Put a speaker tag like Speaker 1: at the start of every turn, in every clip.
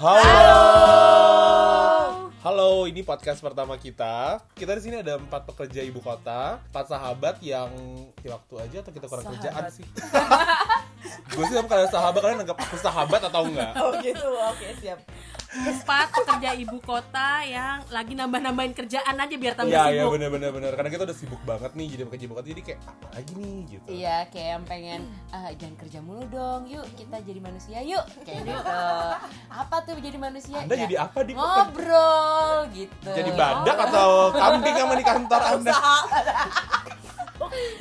Speaker 1: Halo. Halo, ini podcast pertama kita. Kita di sini ada empat pekerja ibu kota, empat sahabat yang di waktu aja atau kita kurang
Speaker 2: Sahabat.
Speaker 1: kerjaan sih. Gue sih kalau sahabat kalian anggap aku sahabat atau enggak?
Speaker 2: Oh gitu, oke siap.
Speaker 3: empat pekerja ibu kota yang lagi nambah-nambahin kerjaan aja biar tambah
Speaker 1: Iya, iya
Speaker 3: sibuk.
Speaker 1: bener bener bener. Karena kita udah sibuk banget nih jadi pekerja ibu kota jadi kayak apa lagi nih gitu.
Speaker 2: Iya, kayak yang pengen "Ah, jangan kerja mulu dong. Yuk kita jadi manusia yuk. Kayak gitu. Apa tuh jadi manusia?
Speaker 1: Anda
Speaker 2: Ya,
Speaker 1: jadi apa di
Speaker 2: ngobrol gitu.
Speaker 1: Jadi badak atau kambing sama di kantor Anda?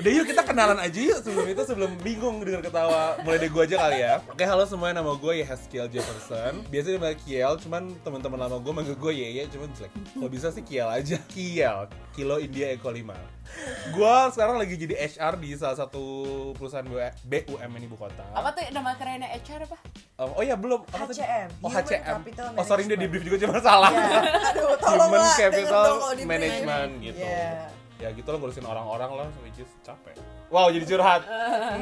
Speaker 1: Udah yuk kita kenalan aja yuk sebelum itu sebelum bingung dengar ketawa mulai dari gue aja kali ya Oke halo semuanya nama gue Yehazkiel Jefferson Biasanya dipanggil Kiel cuman teman-teman lama gue manggil gue Yeye cuman jelek Kalau bisa sih Kiel aja Kiel Kilo India Eko 5 Gue sekarang lagi jadi HR di salah satu perusahaan BU- BUMN Ibu Kota
Speaker 2: Apa tuh nama kerennya HR apa?
Speaker 1: Um, Oh iya belum Apa tadi?
Speaker 4: HCM,
Speaker 1: Oh
Speaker 4: Human
Speaker 1: HCM
Speaker 4: Capital
Speaker 1: Oh sorry ini
Speaker 4: Management.
Speaker 1: di brief juga cuma salah
Speaker 4: Ya. Aduh, tolong
Speaker 1: Human
Speaker 4: lah, denger
Speaker 1: Capital
Speaker 4: dong kalau di
Speaker 1: Management
Speaker 4: brief.
Speaker 1: gitu.
Speaker 4: Iya.
Speaker 1: Ya gitu loh ngurusin orang-orang loh, which is capek. Wow, jadi curhat.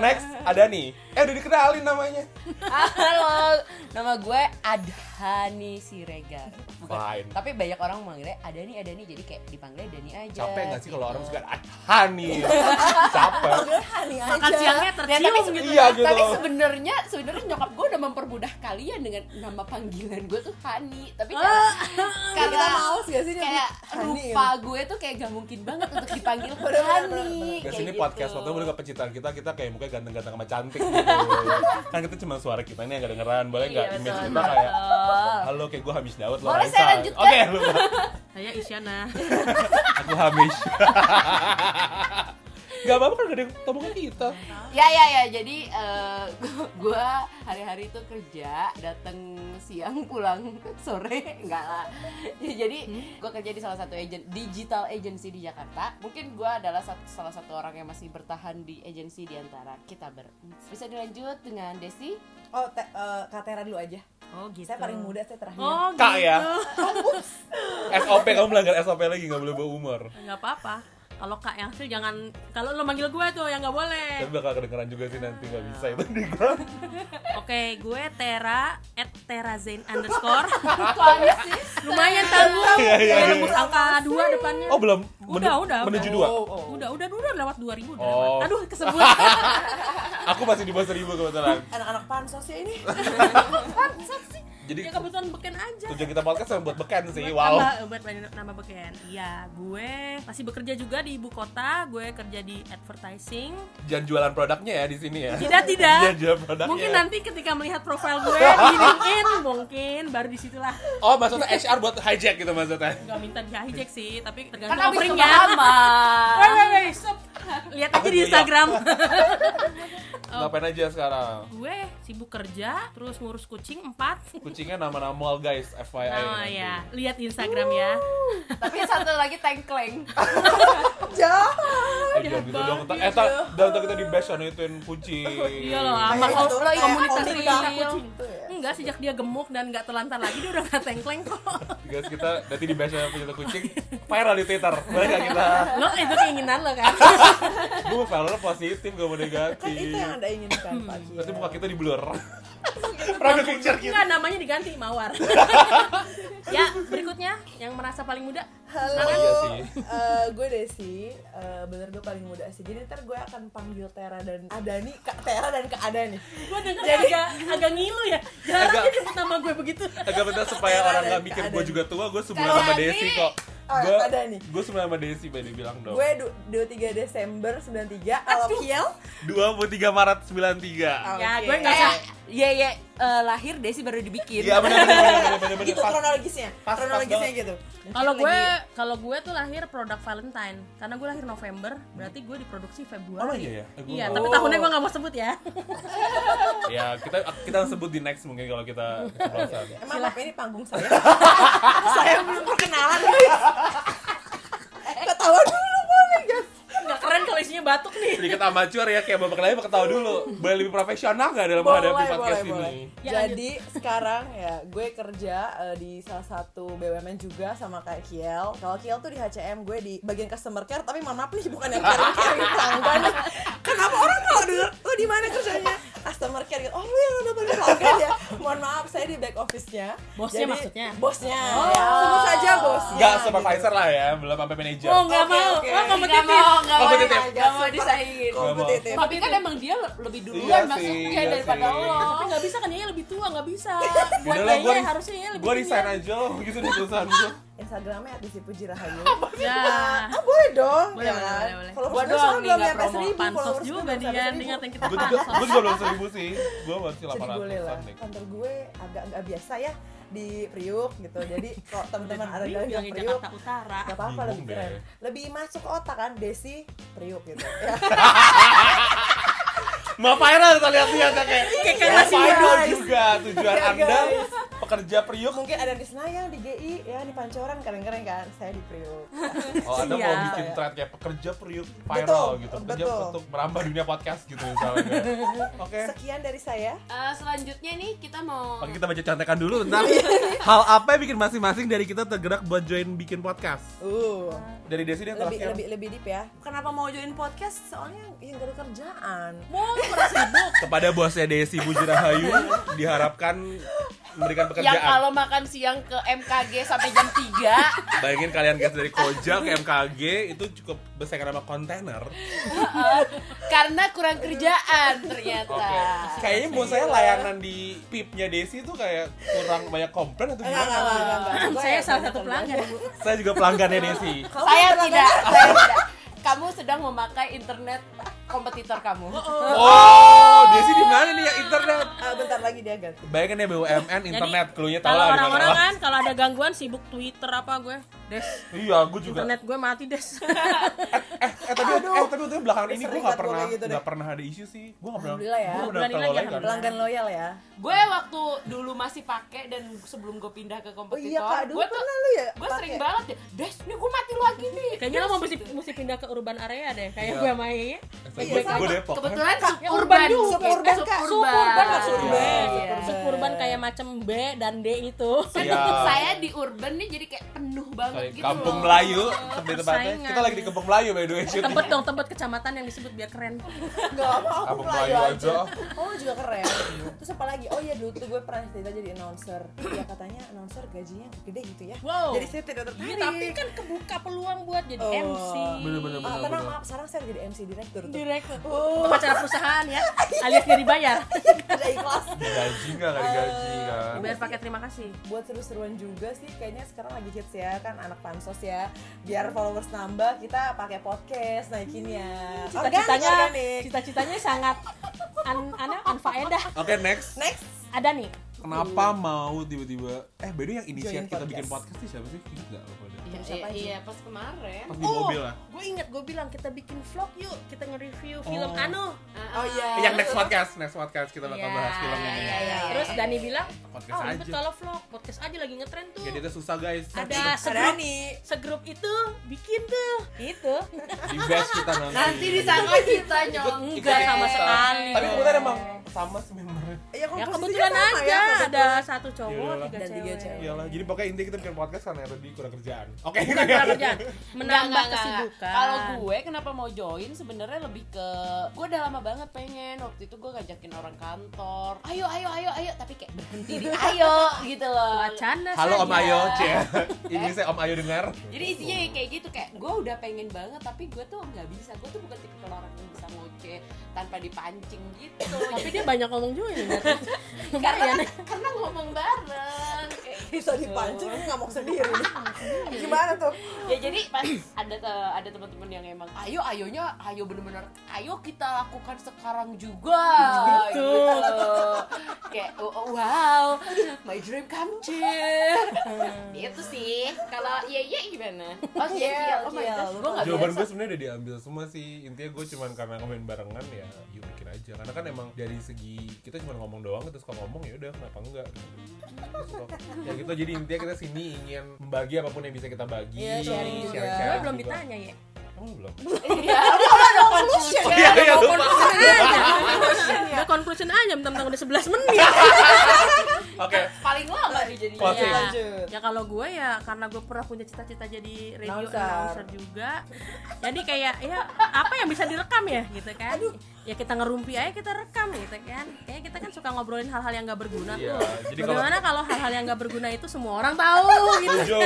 Speaker 1: Next ada nih. Eh udah dikenalin namanya.
Speaker 2: Halo, nama gue Adhani Siregar.
Speaker 1: Fine.
Speaker 2: Tapi banyak orang manggilnya Adani Adani jadi kayak dipanggilnya Dani aja.
Speaker 1: Capek gak sih kalau orang
Speaker 2: gitu.
Speaker 1: suka Hani? capek.
Speaker 4: Panggil Hani aja.
Speaker 3: Makan siangnya
Speaker 2: Ya,
Speaker 3: tercium
Speaker 2: tapi
Speaker 3: gitu.
Speaker 1: Iya gitu.
Speaker 2: Tapi sebenarnya sebenarnya nyokap gue udah mempermudah kalian dengan nama panggilan gue tuh Hani. Tapi
Speaker 3: Ah.
Speaker 2: karena
Speaker 4: Kita males gak sih nyebut
Speaker 2: kayak
Speaker 4: Hani ya?
Speaker 2: rupa gue tuh kayak gak mungkin banget untuk dipanggil
Speaker 4: Bener, bener,
Speaker 2: Hani.
Speaker 1: Guys
Speaker 2: kayak
Speaker 1: ini
Speaker 2: gitu.
Speaker 1: podcast waktu dulu ke pencitraan kita kita kayak mukanya ganteng-ganteng sama cantik gitu. kan kita cuma suara kita ini yang gak dengeran boleh nggak
Speaker 2: Iya,
Speaker 1: image
Speaker 2: betul.
Speaker 1: kita kayak
Speaker 2: Oh.
Speaker 1: halo kayak gue Hamis Dawat lo
Speaker 2: Boleh
Speaker 1: Raisa.
Speaker 2: saya lanjutkan?
Speaker 1: Oke lu
Speaker 3: Saya Isyana.
Speaker 1: aku Hamis. gak apa-apa kan gak ada yang temukan kita.
Speaker 2: Ya ya ya, jadi eh, gu- gua hari-hari tuh kerja, datang siang pulang sore, enggak lah. Ya, jadi
Speaker 4: Hmm?
Speaker 2: gua kerja di salah satu agent digital agency di Jakarta. Mungkin gua adalah sat- salah satu orang yang masih bertahan di agency di antara kita ber. Bisa dilanjut dengan Desi?
Speaker 4: Oh, te- eh, Kak Tera dulu aja. Iya,
Speaker 3: Oh gitu.
Speaker 4: Saya paling muda, saya terakhir.
Speaker 3: Oh gitu.
Speaker 1: Kak ya. SOP kamu melanggar SOP lagi nggak boleh bawa umur.
Speaker 3: Enggak apa-apa. Kalau Kak yang asli jangan kalau lo manggil gue tuh yang nggak boleh.
Speaker 1: Tapi bakal kedengeran juga sih nanti nggak bisa
Speaker 3: Ah.
Speaker 1: itu di gua.
Speaker 3: Oke, gue Tera at Tera Zain underscore.
Speaker 2: Kami sih.
Speaker 3: Lumayan
Speaker 1: Iya,
Speaker 3: tanggung.
Speaker 1: iya, iya.
Speaker 3: Saya nembus angka dua depannya.
Speaker 1: Oh belum.
Speaker 3: Udah, udah,
Speaker 1: Menuju
Speaker 3: udah.
Speaker 1: dua.
Speaker 3: Udah, udah, udah lewat 2000 udah
Speaker 1: Oh.
Speaker 3: lewat. Aduh, kesebut.
Speaker 1: Aku masih di bawah seribu kebetulan.
Speaker 4: Anak-anak pansos ya ini.
Speaker 3: Bangsat sih.
Speaker 1: Jadi
Speaker 3: ya kebetulan beken aja.
Speaker 1: tujuan kita podcast sama buat beken sih.
Speaker 3: Buat
Speaker 1: Wow.
Speaker 3: nambah- buat banyak nambah beken. Iya, gue masih bekerja juga di ibu kota. Gue kerja di advertising.
Speaker 1: Jangan jualan produknya ya di sini ya.
Speaker 3: Tidak,
Speaker 1: Jangan
Speaker 3: tidak.
Speaker 1: jualan produknya.
Speaker 3: Iya. Mungkin nanti ketika melihat profil gue di LinkedIn, mungkin baru disitulah.
Speaker 1: Oh maksudnya HR buat hijack gitu maksudnya.
Speaker 3: Gak minta di hijack sih, tapi
Speaker 2: Kan
Speaker 3: tergantung
Speaker 2: habis
Speaker 3: offeringnya.
Speaker 2: lama.
Speaker 3: Wait, wait, wait, stop. Lihat aja di
Speaker 1: Iya.
Speaker 3: Instagram. Oh.
Speaker 1: Ngapain aja sekarang?
Speaker 3: gue sibuk kerja, terus ngurus kucing empat.
Speaker 1: Kucingnya nama-nama mall guys, FYI.
Speaker 3: Oh
Speaker 1: nanti.
Speaker 3: ya, lihat di Instagram ya.
Speaker 2: Tapi satu lagi tengkleng.
Speaker 1: Eh, jangan gitu dong. Ntar- Eh, tak, udah kita di bash on ituin kucing.
Speaker 3: ya. Iya loh, sama
Speaker 4: Kayak
Speaker 3: kau-
Speaker 4: gitu,
Speaker 3: lo
Speaker 4: kayak
Speaker 3: komunitas
Speaker 4: orang
Speaker 3: kita
Speaker 4: kita
Speaker 3: kucing.
Speaker 4: gitu ya.
Speaker 3: Enggak, sejak dia gemuk dan nggak telantar lagi dia udah nggak tengkleng kok.
Speaker 1: Guys kita nanti di bash on punya kucing viral di Twitter. Boleh nggak kita?
Speaker 3: Lo itu keinginan lo kan?
Speaker 1: gue valornya positif gak mau
Speaker 4: Kan itu
Speaker 1: negatif
Speaker 4: yang Anda inginkan, Pak Kiel.
Speaker 1: nanti muka kita di blur produk picture kita
Speaker 3: Enggak, namanya diganti Mawar. ya, berikutnya yang merasa paling muda.
Speaker 4: Halo,
Speaker 1: Oh, iya sih.
Speaker 4: eh, gue Desi, Eh, bener gue paling muda sih Jadi ntar gue akan panggil Tera dan Adani, Kak Tera dan Kak Adani
Speaker 3: Gue denger agak agak ngilu ya. Jarang
Speaker 1: Agak-
Speaker 3: dia nyebut nama gue begitu.
Speaker 1: agak bentar supaya orang gak mikir gue juga tua gue sebenarnya sama
Speaker 2: Kalau
Speaker 1: Desi
Speaker 2: Andi-
Speaker 1: kok
Speaker 4: Oh,
Speaker 1: gue
Speaker 4: ada nih.
Speaker 1: gue sebenarnya sama Desi by bilang dong
Speaker 4: Gue du- 23 Desember 93, kalau Kiel
Speaker 1: 23 Maret 93
Speaker 4: Oke.
Speaker 3: Ya, gue nggak
Speaker 2: Kayak
Speaker 3: usah.
Speaker 2: ya ya eh, lahir Desi baru dibikin.
Speaker 1: iya bener bener bener bener bener bener
Speaker 4: Gitu
Speaker 1: pas
Speaker 4: kronologisnya,
Speaker 1: pas
Speaker 4: kronologisnya
Speaker 1: banget.
Speaker 4: gitu
Speaker 3: Kalau
Speaker 4: Mungkin
Speaker 3: gue
Speaker 4: lagi-
Speaker 3: kalau gue tuh lahir produk Valentine karena gue lahir November, berarti gue diproduksi Februari.
Speaker 1: Emang iya ya? Eh, gue
Speaker 3: Iya,
Speaker 1: nggak
Speaker 3: tapi
Speaker 1: tahu.
Speaker 3: tahunnya gue nggak mau sebut ya.
Speaker 1: ya kita kita sebut di next mungkin kalau kita keceplosan
Speaker 4: Emang apa ini panggung saya? saya belum perkenalan Ketawa dulu boleh guys
Speaker 3: Nggak keren kalau isinya batuk nih.
Speaker 1: sedikit amatir ya kayak bapak lain ketawa dulu boleh lebih profesional gak dalam menghadapi podcast ini
Speaker 3: Ya,
Speaker 4: Jadi sekarang ya gue kerja eh, di salah satu BUMN juga sama kayak Kiel. Kalau Kiel tuh di HCM, gue di bagian customer care tapi mohon maaf nih bukan yang care care pelanggan. Kenapa orang kalau denger, lo di mana kerjanya? Customer care gitu. Oh, lu yang udah bantu pelanggan ya. Mohon maaf, saya di back office-nya.
Speaker 3: Bosnya
Speaker 4: Jadi-
Speaker 3: maksudnya?
Speaker 4: Bosnya.
Speaker 2: Oh.
Speaker 4: ya. Sebut saja bosnya.
Speaker 1: Gak supervisor lah ya, belum sampai manajer.
Speaker 3: Oh nggak
Speaker 4: Oke,
Speaker 3: mau,
Speaker 4: oke.
Speaker 3: oh
Speaker 2: Gak
Speaker 3: kompetitif.
Speaker 2: mau, gak mau, Iya,
Speaker 1: Kompetitif.
Speaker 2: gak mau disaingin
Speaker 4: Kompetitif.
Speaker 2: Tapi kan emang dia lebih
Speaker 1: Iya
Speaker 2: duluan
Speaker 1: sih,
Speaker 2: masuknya
Speaker 1: iya
Speaker 2: daripada
Speaker 1: sih.
Speaker 2: lo
Speaker 3: Tapi nggak bisa kan Yaya lebih tua, nggak bisa. Buat
Speaker 1: Yaudah lah,
Speaker 3: Yaya
Speaker 1: res-
Speaker 3: harusnya Yaya lebih
Speaker 1: gua
Speaker 3: senior.
Speaker 1: resign aja loh, gitu di perusahaan gue.
Speaker 4: Instagramnya at Desi Puji Rahayu.
Speaker 3: Ya.
Speaker 2: Nah,
Speaker 4: Ah boleh dong.
Speaker 3: Boleh, boleh,
Speaker 4: ya kan?
Speaker 3: boleh, boleh.
Speaker 4: Followers
Speaker 2: Gua
Speaker 4: gue
Speaker 2: doang
Speaker 4: soalnya
Speaker 2: nih nggak
Speaker 4: belum nyampe
Speaker 2: promo.
Speaker 4: seribu.
Speaker 3: Pansos
Speaker 4: Followers gue
Speaker 3: juga
Speaker 4: belum
Speaker 3: nih
Speaker 4: nyampe
Speaker 3: kan,
Speaker 4: seribu.
Speaker 3: ingatin kita
Speaker 1: Gue juga,
Speaker 3: pansos.
Speaker 1: gue juga belum seribu sih, gue masih
Speaker 4: Jadi
Speaker 1: delapan
Speaker 4: boleh lah.
Speaker 1: ratusan deh.
Speaker 4: Kantor gue agak nggak biasa ya di Priuk gitu. Jadi kalau teman-teman ada
Speaker 3: Ini
Speaker 4: jalan
Speaker 3: bilangnya
Speaker 4: di Priuk,
Speaker 3: Jakarta Utara.
Speaker 4: Gak apa-apa lebih
Speaker 1: Bingung
Speaker 4: keren.
Speaker 1: deh.
Speaker 4: Lebih masuk ke otak kan Desi Priuk gitu. Ya.
Speaker 1: Ma viral kita lihat-lihat ya kayak
Speaker 4: Kayak
Speaker 1: Ma
Speaker 4: masih
Speaker 1: viral
Speaker 4: guys.
Speaker 1: juga tujuan
Speaker 4: Iya,
Speaker 1: anda
Speaker 4: guys.
Speaker 1: pekerja Priuk
Speaker 4: Mungkin ada di Senayan, di GI, ya di Pancoran keren-keren kan. Saya di Priuk.
Speaker 1: Oh anda mau
Speaker 3: Iya.
Speaker 1: bikin thread kayak pekerja Priuk viral
Speaker 4: Betul,
Speaker 1: gitu Pekerja
Speaker 4: betul.
Speaker 1: untuk merambah dunia podcast gitu misalnya kayak. Oke
Speaker 4: Sekian dari saya.
Speaker 2: Eh, Selanjutnya nih kita mau
Speaker 1: Oke kita baca contekan dulu tentang hal apa yang bikin masing-masing dari kita tergerak buat join bikin podcast
Speaker 4: Uh.
Speaker 1: Dari Desi dia
Speaker 4: Lebih
Speaker 1: terakhir
Speaker 4: lebih lebih deep ya. Kenapa mau join podcast? Soalnya yang gak ada kerjaan.
Speaker 3: Mau lu pernah sibuk.
Speaker 1: Kepada bosnya Desi Bujirahayu diharapkan memberikan
Speaker 2: yang
Speaker 1: pekerjaan
Speaker 2: kalau makan siang ke MKG sampai jam 3
Speaker 1: Bayangin kalian guys dari Koja ke MKG itu cukup bersaing sama kontainer
Speaker 2: karena kurang kerjaan ternyata.
Speaker 1: Oke.
Speaker 4: Iya.
Speaker 1: Kayaknya menurut saya layanan di pipnya Desi tuh kayak kurang banyak komplain atau
Speaker 4: Enggak, enggak,
Speaker 1: gimana?
Speaker 4: enggak, enggak, enggak. Gua
Speaker 3: Saya
Speaker 4: yang
Speaker 3: salah
Speaker 4: punya
Speaker 3: satu
Speaker 4: kerjaan.
Speaker 3: pelanggan, Bu.
Speaker 1: Saya juga pelanggannya Desi.
Speaker 4: Kamu
Speaker 2: Saya
Speaker 4: pelanggan.
Speaker 2: tidak, saya tidak. Kamu sedang memakai internet kompetitor kamu.
Speaker 1: Oh, Desi di mana nih ya internet?
Speaker 4: Ah, bentar lagi dia ganti.
Speaker 1: Bayangin ya BUMN internet, cluenya tahu
Speaker 3: kalau
Speaker 1: lah di
Speaker 3: orang-orang
Speaker 1: mana.
Speaker 3: kan kalau ada gangguan sibuk Twitter apa gue, Des.
Speaker 1: Iya, gue juga.
Speaker 3: Internet gue mati, Des.
Speaker 1: Eh tapi eh tapi untungnya belakangan ini gue
Speaker 4: Sering
Speaker 1: nggak
Speaker 4: banget
Speaker 1: pernah
Speaker 4: gua kayak gitu deh.
Speaker 1: nggak pernah ada isu sih. Gue nggak pernah. kan.
Speaker 4: Alhamdulillah ya.
Speaker 1: Gue udah
Speaker 3: Berani lagi,
Speaker 1: terlalaikan.
Speaker 3: alhamdulillah.
Speaker 4: Pelanggan loyal ya.
Speaker 2: Gue waktu dulu masih pakai dan sebelum gue pindah ke
Speaker 4: Oh iya
Speaker 2: kompetitor,
Speaker 4: kak, dulu
Speaker 2: gue tuh
Speaker 4: pernah lu ya
Speaker 2: gue sering
Speaker 4: pakai?
Speaker 2: banget ya, Des, nih gue mati lu lagi nih.
Speaker 3: Kayaknya lo mau mesti, mesti pindah ke urban area deh, kayak
Speaker 1: Iya.
Speaker 3: gue sama Yaya.
Speaker 4: Iya,
Speaker 1: Gue
Speaker 4: sama.
Speaker 1: gue Depok.
Speaker 2: Kebetulan
Speaker 3: Ya,
Speaker 2: suburban,
Speaker 3: urban juga.
Speaker 4: Suburban, Kak.
Speaker 3: Kan Suburban, Kak,
Speaker 1: suburban.
Speaker 2: Iya.
Speaker 3: Suburban kayak macam B dan D itu.
Speaker 2: Kan
Speaker 1: Iya.
Speaker 2: saya di urban nih jadi kayak penuh banget
Speaker 1: Kayak
Speaker 2: gitu
Speaker 1: Kampung
Speaker 2: loh.
Speaker 1: Melayu, seperti tempatnya.
Speaker 3: persaingan.
Speaker 1: Kita lagi di Kampung Melayu by the way. syuting.
Speaker 3: Tempat dong, tempat kecamatan yang disebut biar keren.
Speaker 4: Gak apa aku
Speaker 1: Kampung
Speaker 4: pelayu
Speaker 1: Melayu
Speaker 4: aja
Speaker 1: aja.
Speaker 4: Oh juga keren Terus apa lagi? Oh iya dulu tuh gue pernah cerita jadi announcer Ya katanya announcer gajinya gede gitu ya
Speaker 3: Wow.
Speaker 4: Jadi saya
Speaker 3: Iya,
Speaker 4: tidak tertarik
Speaker 3: tapi kan kebuka peluang buat jadi
Speaker 4: Oh.
Speaker 3: MC.
Speaker 1: Bener-bener.
Speaker 4: Ah, tenang maaf, sekarang saya jadi MC direktur tuh
Speaker 3: Direktur. Pengacara perusahaan ya, alias gak dibayar.
Speaker 4: Ada ikhlas
Speaker 1: Gaji nggak nggak digaji kan?
Speaker 3: Eh, Biar pakai terima kasih.
Speaker 4: Buat seru-seruan juga sih Kayaknya sekarang lagi hits ya Kan anak pansos ya Biar followers nambah Kita pakai podcast naikinnya
Speaker 3: Cita-citanya,
Speaker 4: organik.
Speaker 3: cita-citanya sangat an, aneh, anfaedah.
Speaker 1: Oke next.
Speaker 4: Next
Speaker 3: Ada nih.
Speaker 1: Kenapa mau tiba-tiba eh by the way yang inisiat
Speaker 4: Join
Speaker 1: kita
Speaker 4: podcast.
Speaker 1: bikin podcast sih siapa sih? Ingat nggak lo pada?
Speaker 3: Oh.
Speaker 2: Iya,
Speaker 4: Siapa aja?
Speaker 2: iya, iya, pas kemarin.
Speaker 1: Pas di mobil lah.
Speaker 3: gue inget gue bilang kita bikin vlog yuk, kita nge-review film
Speaker 1: Oh.
Speaker 3: Anu.
Speaker 4: Oh iya
Speaker 2: Ah,
Speaker 1: Yang next podcast, next podcast kita bakal
Speaker 3: Iya,
Speaker 1: bahas film
Speaker 3: iya,
Speaker 1: ini.
Speaker 3: iya, iya. Terus Dani bilang,
Speaker 1: Podcast
Speaker 3: oh ribet
Speaker 1: aja.
Speaker 3: kalau vlog, podcast aja lagi ngetren tuh.
Speaker 1: Jadi itu susah guys.
Speaker 3: Ada
Speaker 4: Ada
Speaker 3: segrup,
Speaker 4: nih
Speaker 3: segrup itu bikin tuh, gitu.
Speaker 1: Di best kita nanti.
Speaker 2: Nanti disangka kita
Speaker 1: ikut
Speaker 2: nyonggeng
Speaker 1: sama
Speaker 3: sekali.
Speaker 1: Tapi kebetulan emang sama sih membernya.
Speaker 4: Ya,
Speaker 3: Ya
Speaker 4: komposisinya
Speaker 3: kebetulan
Speaker 4: sama
Speaker 3: aja
Speaker 4: ya,
Speaker 3: ada satu
Speaker 1: Yaudahlah.
Speaker 3: cowok, tiga
Speaker 4: Dan tiga
Speaker 3: cewek.
Speaker 4: cewek.
Speaker 1: Iyalah, jadi pokoknya intinya kita bikin podcast karena tadi kurang kerjaan. Oke.
Speaker 3: Bukan kurang kerjaan, Iya, menambah kesibukan.
Speaker 2: Kalau gue kenapa mau join sebenarnya lebih ke gue udah lama banget pengen waktu itu gue ngajakin orang kantor. Ayo ayo ayo ayo tapi kayak berhenti di ayo gitu loh.
Speaker 3: wacana
Speaker 1: Halo Om
Speaker 3: saja.
Speaker 1: Ayo, Cie. Ini saya Om Ayo dengar.
Speaker 3: Iya.
Speaker 2: Jadi isinya ya kayak gitu kayak gue udah pengen banget tapi gue tuh nggak bisa. Gue tuh bukan tipe orang yang bisa ngoceh tanpa dipancing gitu.
Speaker 3: Tapi dia banyak ngomong juga ya, nih.
Speaker 2: karena
Speaker 3: Iya,
Speaker 2: karena ngomong ya. bareng kayak
Speaker 4: bisa
Speaker 2: gitu.
Speaker 4: dipancing ini nggak mau sendiri gimana tuh Eh,
Speaker 2: ya jadi pas ada te- ada teman-teman yang emang ayo ayonya ayo bener-bener ayo kita lakukan sekarang juga
Speaker 3: Gitu.
Speaker 2: kayak "Oh, oh, wow my dream come true itu sih kalau iya iya gimana oh iya iya oh my
Speaker 4: Iya,
Speaker 2: gosh
Speaker 4: iya.
Speaker 2: gue nggak
Speaker 1: Jawaban
Speaker 2: biasa
Speaker 1: gue sebenarnya udah diambil semua sih. Intinya gue cuman karena kemarin barengan ya, yuk bikin aja. Karena kan emang dari segi kita cuma ngomong doang, terus kalau ngomong ya udah kenapa enggak? Terus kok- Ya gitu jadi intinya kita sini ingin membagi apapun yang bisa kita bagi,
Speaker 4: Iya, sharing juga.
Speaker 3: Gue
Speaker 1: share-share
Speaker 3: belum
Speaker 1: juga.
Speaker 3: ditanya ya.
Speaker 1: Emang Oh, belum.
Speaker 2: Iya, udah ada conclusion
Speaker 1: Oh iya, iya, lupa.
Speaker 3: Ah, ya. Conclusion aja. Udah conclusion aja bentar-bentar udah 11 menit.
Speaker 1: Oke.
Speaker 2: paling lama nih jadi
Speaker 1: Closing.
Speaker 3: Ya.
Speaker 4: Lanjut.
Speaker 3: Ya kalau gue ya karena gue pernah punya cita-cita jadi radio
Speaker 4: Announcer.
Speaker 3: announcer. juga. Jadi kayak ya apa yang bisa direkam ya gitu kan. Ya kita ngerumpi aja kita rekam gitu kan. Kayaknya kita kan suka ngobrolin hal-hal yang nggak berguna
Speaker 1: Iya,
Speaker 3: tuh.
Speaker 1: jadi kalau- Iya.
Speaker 3: Nah, Bagaimana kalau hal-hal yang nggak berguna itu semua orang tahu gitu.
Speaker 1: Setuju.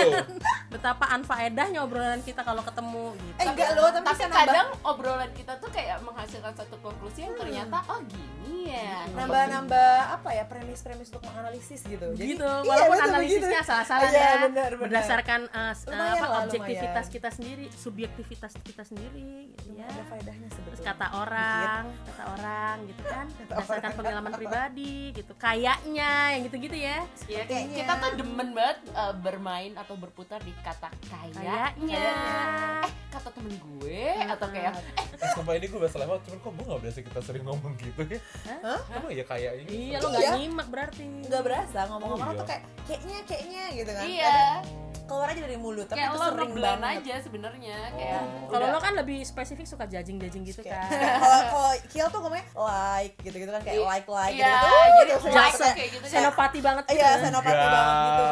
Speaker 3: Betapa anfaedahnya obrolan kita kalau ketemu gitu.
Speaker 4: Eh enggak loh, tapi,
Speaker 2: tapi
Speaker 4: bisa nambah-
Speaker 2: kadang obrolan kita tuh kayak menghasilkan satu konklusi yang ternyata oh gini ya
Speaker 4: Hmm. nambah-nambah apa ya premis-premis untuk menganalisis gitu. Jadi,
Speaker 3: gitu
Speaker 4: iya,
Speaker 3: walaupun
Speaker 4: betul,
Speaker 3: analisisnya
Speaker 4: begitu.
Speaker 3: salah-salah
Speaker 4: Iya,
Speaker 3: ya
Speaker 4: benar, benar.
Speaker 3: berdasarkan eh, s- eh,
Speaker 4: Lumayan
Speaker 3: apa
Speaker 4: lah,
Speaker 3: objektivitas
Speaker 4: lumayan. Iya.
Speaker 3: kita sendiri subjektivitas kita sendiri gitu ya
Speaker 4: ada faedahnya sebetulnya.
Speaker 3: terus kata orang kata orang gitu kan berdasarkan pengalaman pribadi gitu kayaknya yang gitu-gitu
Speaker 4: Iya,
Speaker 3: ya
Speaker 2: Ya,
Speaker 4: Sepertinya.
Speaker 2: kita tuh demen banget eh, bermain atau berputar di kata kayaknya.
Speaker 3: kayaknya
Speaker 2: Eh, kata temen gue
Speaker 4: Hmm,
Speaker 2: atau kayak eh
Speaker 1: Eh, Sumpah ini gue bahas lama, cuman kok gue gak berasa kita sering ngomong gitu ya?
Speaker 4: Hah?
Speaker 1: Emang ya kayak ini?
Speaker 3: iya lo
Speaker 4: Iya.
Speaker 3: nggak nyimak berarti
Speaker 4: Enggak berasa ngomong
Speaker 1: Oh,
Speaker 4: orang
Speaker 1: iya.
Speaker 4: tuh kayak kayaknya kayaknya gitu kan. Kadang
Speaker 2: iya,
Speaker 4: keluar aja dari mulut, tapi
Speaker 2: kayak
Speaker 4: itu
Speaker 2: lo
Speaker 4: sering
Speaker 2: ngeblan
Speaker 4: banget. Oh,
Speaker 2: aja sebenarnya kayak
Speaker 3: kalau lo kan lebih spesifik suka judging-judging gitu kan
Speaker 4: Kayak- Kalau kalau Kiel tuh ngomongnya like gitu-gitu kan kayak
Speaker 2: Iya.
Speaker 4: like like
Speaker 2: Iya,
Speaker 4: gitu. Uh,
Speaker 2: jadi
Speaker 4: terus
Speaker 2: like
Speaker 4: kayak-
Speaker 2: kayak gitu kan.
Speaker 3: senopati banget gitu
Speaker 4: Iya,
Speaker 3: kan.
Speaker 4: senopati banget gitu.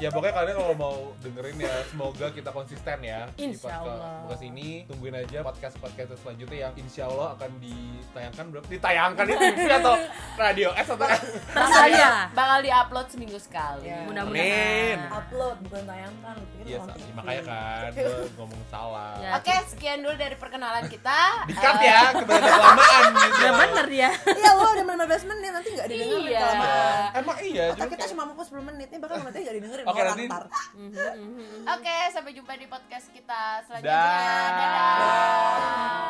Speaker 1: Ya pokoknya kalian kalau mau dengerin ya semoga kita konsisten ya di
Speaker 3: Insya
Speaker 1: podcast
Speaker 3: Allah.
Speaker 1: podcast ini tungguin aja podcast podcast selanjutnya yang insya Allah akan ditayangkan berapa ditayangkan di TV atau radio eh atau
Speaker 3: terserah ya
Speaker 2: bakal diupload seminggu sekali.
Speaker 4: Iya.
Speaker 1: Amin.
Speaker 3: mudah-mudahan
Speaker 4: Upload bukan tayangkan, gitu. lu pikir
Speaker 1: iya
Speaker 4: orang
Speaker 1: sa-
Speaker 4: TV.
Speaker 1: makanya kan gue ngomong salah
Speaker 3: Ya.
Speaker 2: Oke, sekian dulu dari perkenalan kita. Eh,
Speaker 1: dikat ya kebanyakan kelamaan gitu
Speaker 3: ya bener ya
Speaker 4: Iya, lo udah 15 menit nanti enggak didengerin
Speaker 2: Iya.
Speaker 4: kelamaan.
Speaker 1: emang iya
Speaker 4: Otak
Speaker 1: cuman
Speaker 4: kita
Speaker 1: kayak-
Speaker 4: cuma mampu 10 menit nih, bakal nanti gak didengerin
Speaker 1: Oke,
Speaker 4: orang
Speaker 1: nanti-
Speaker 4: ntar.
Speaker 3: Mhm,
Speaker 2: Oke, sampai jumpa di podcast kita selanjutnya.
Speaker 1: Dah.
Speaker 2: Dadah.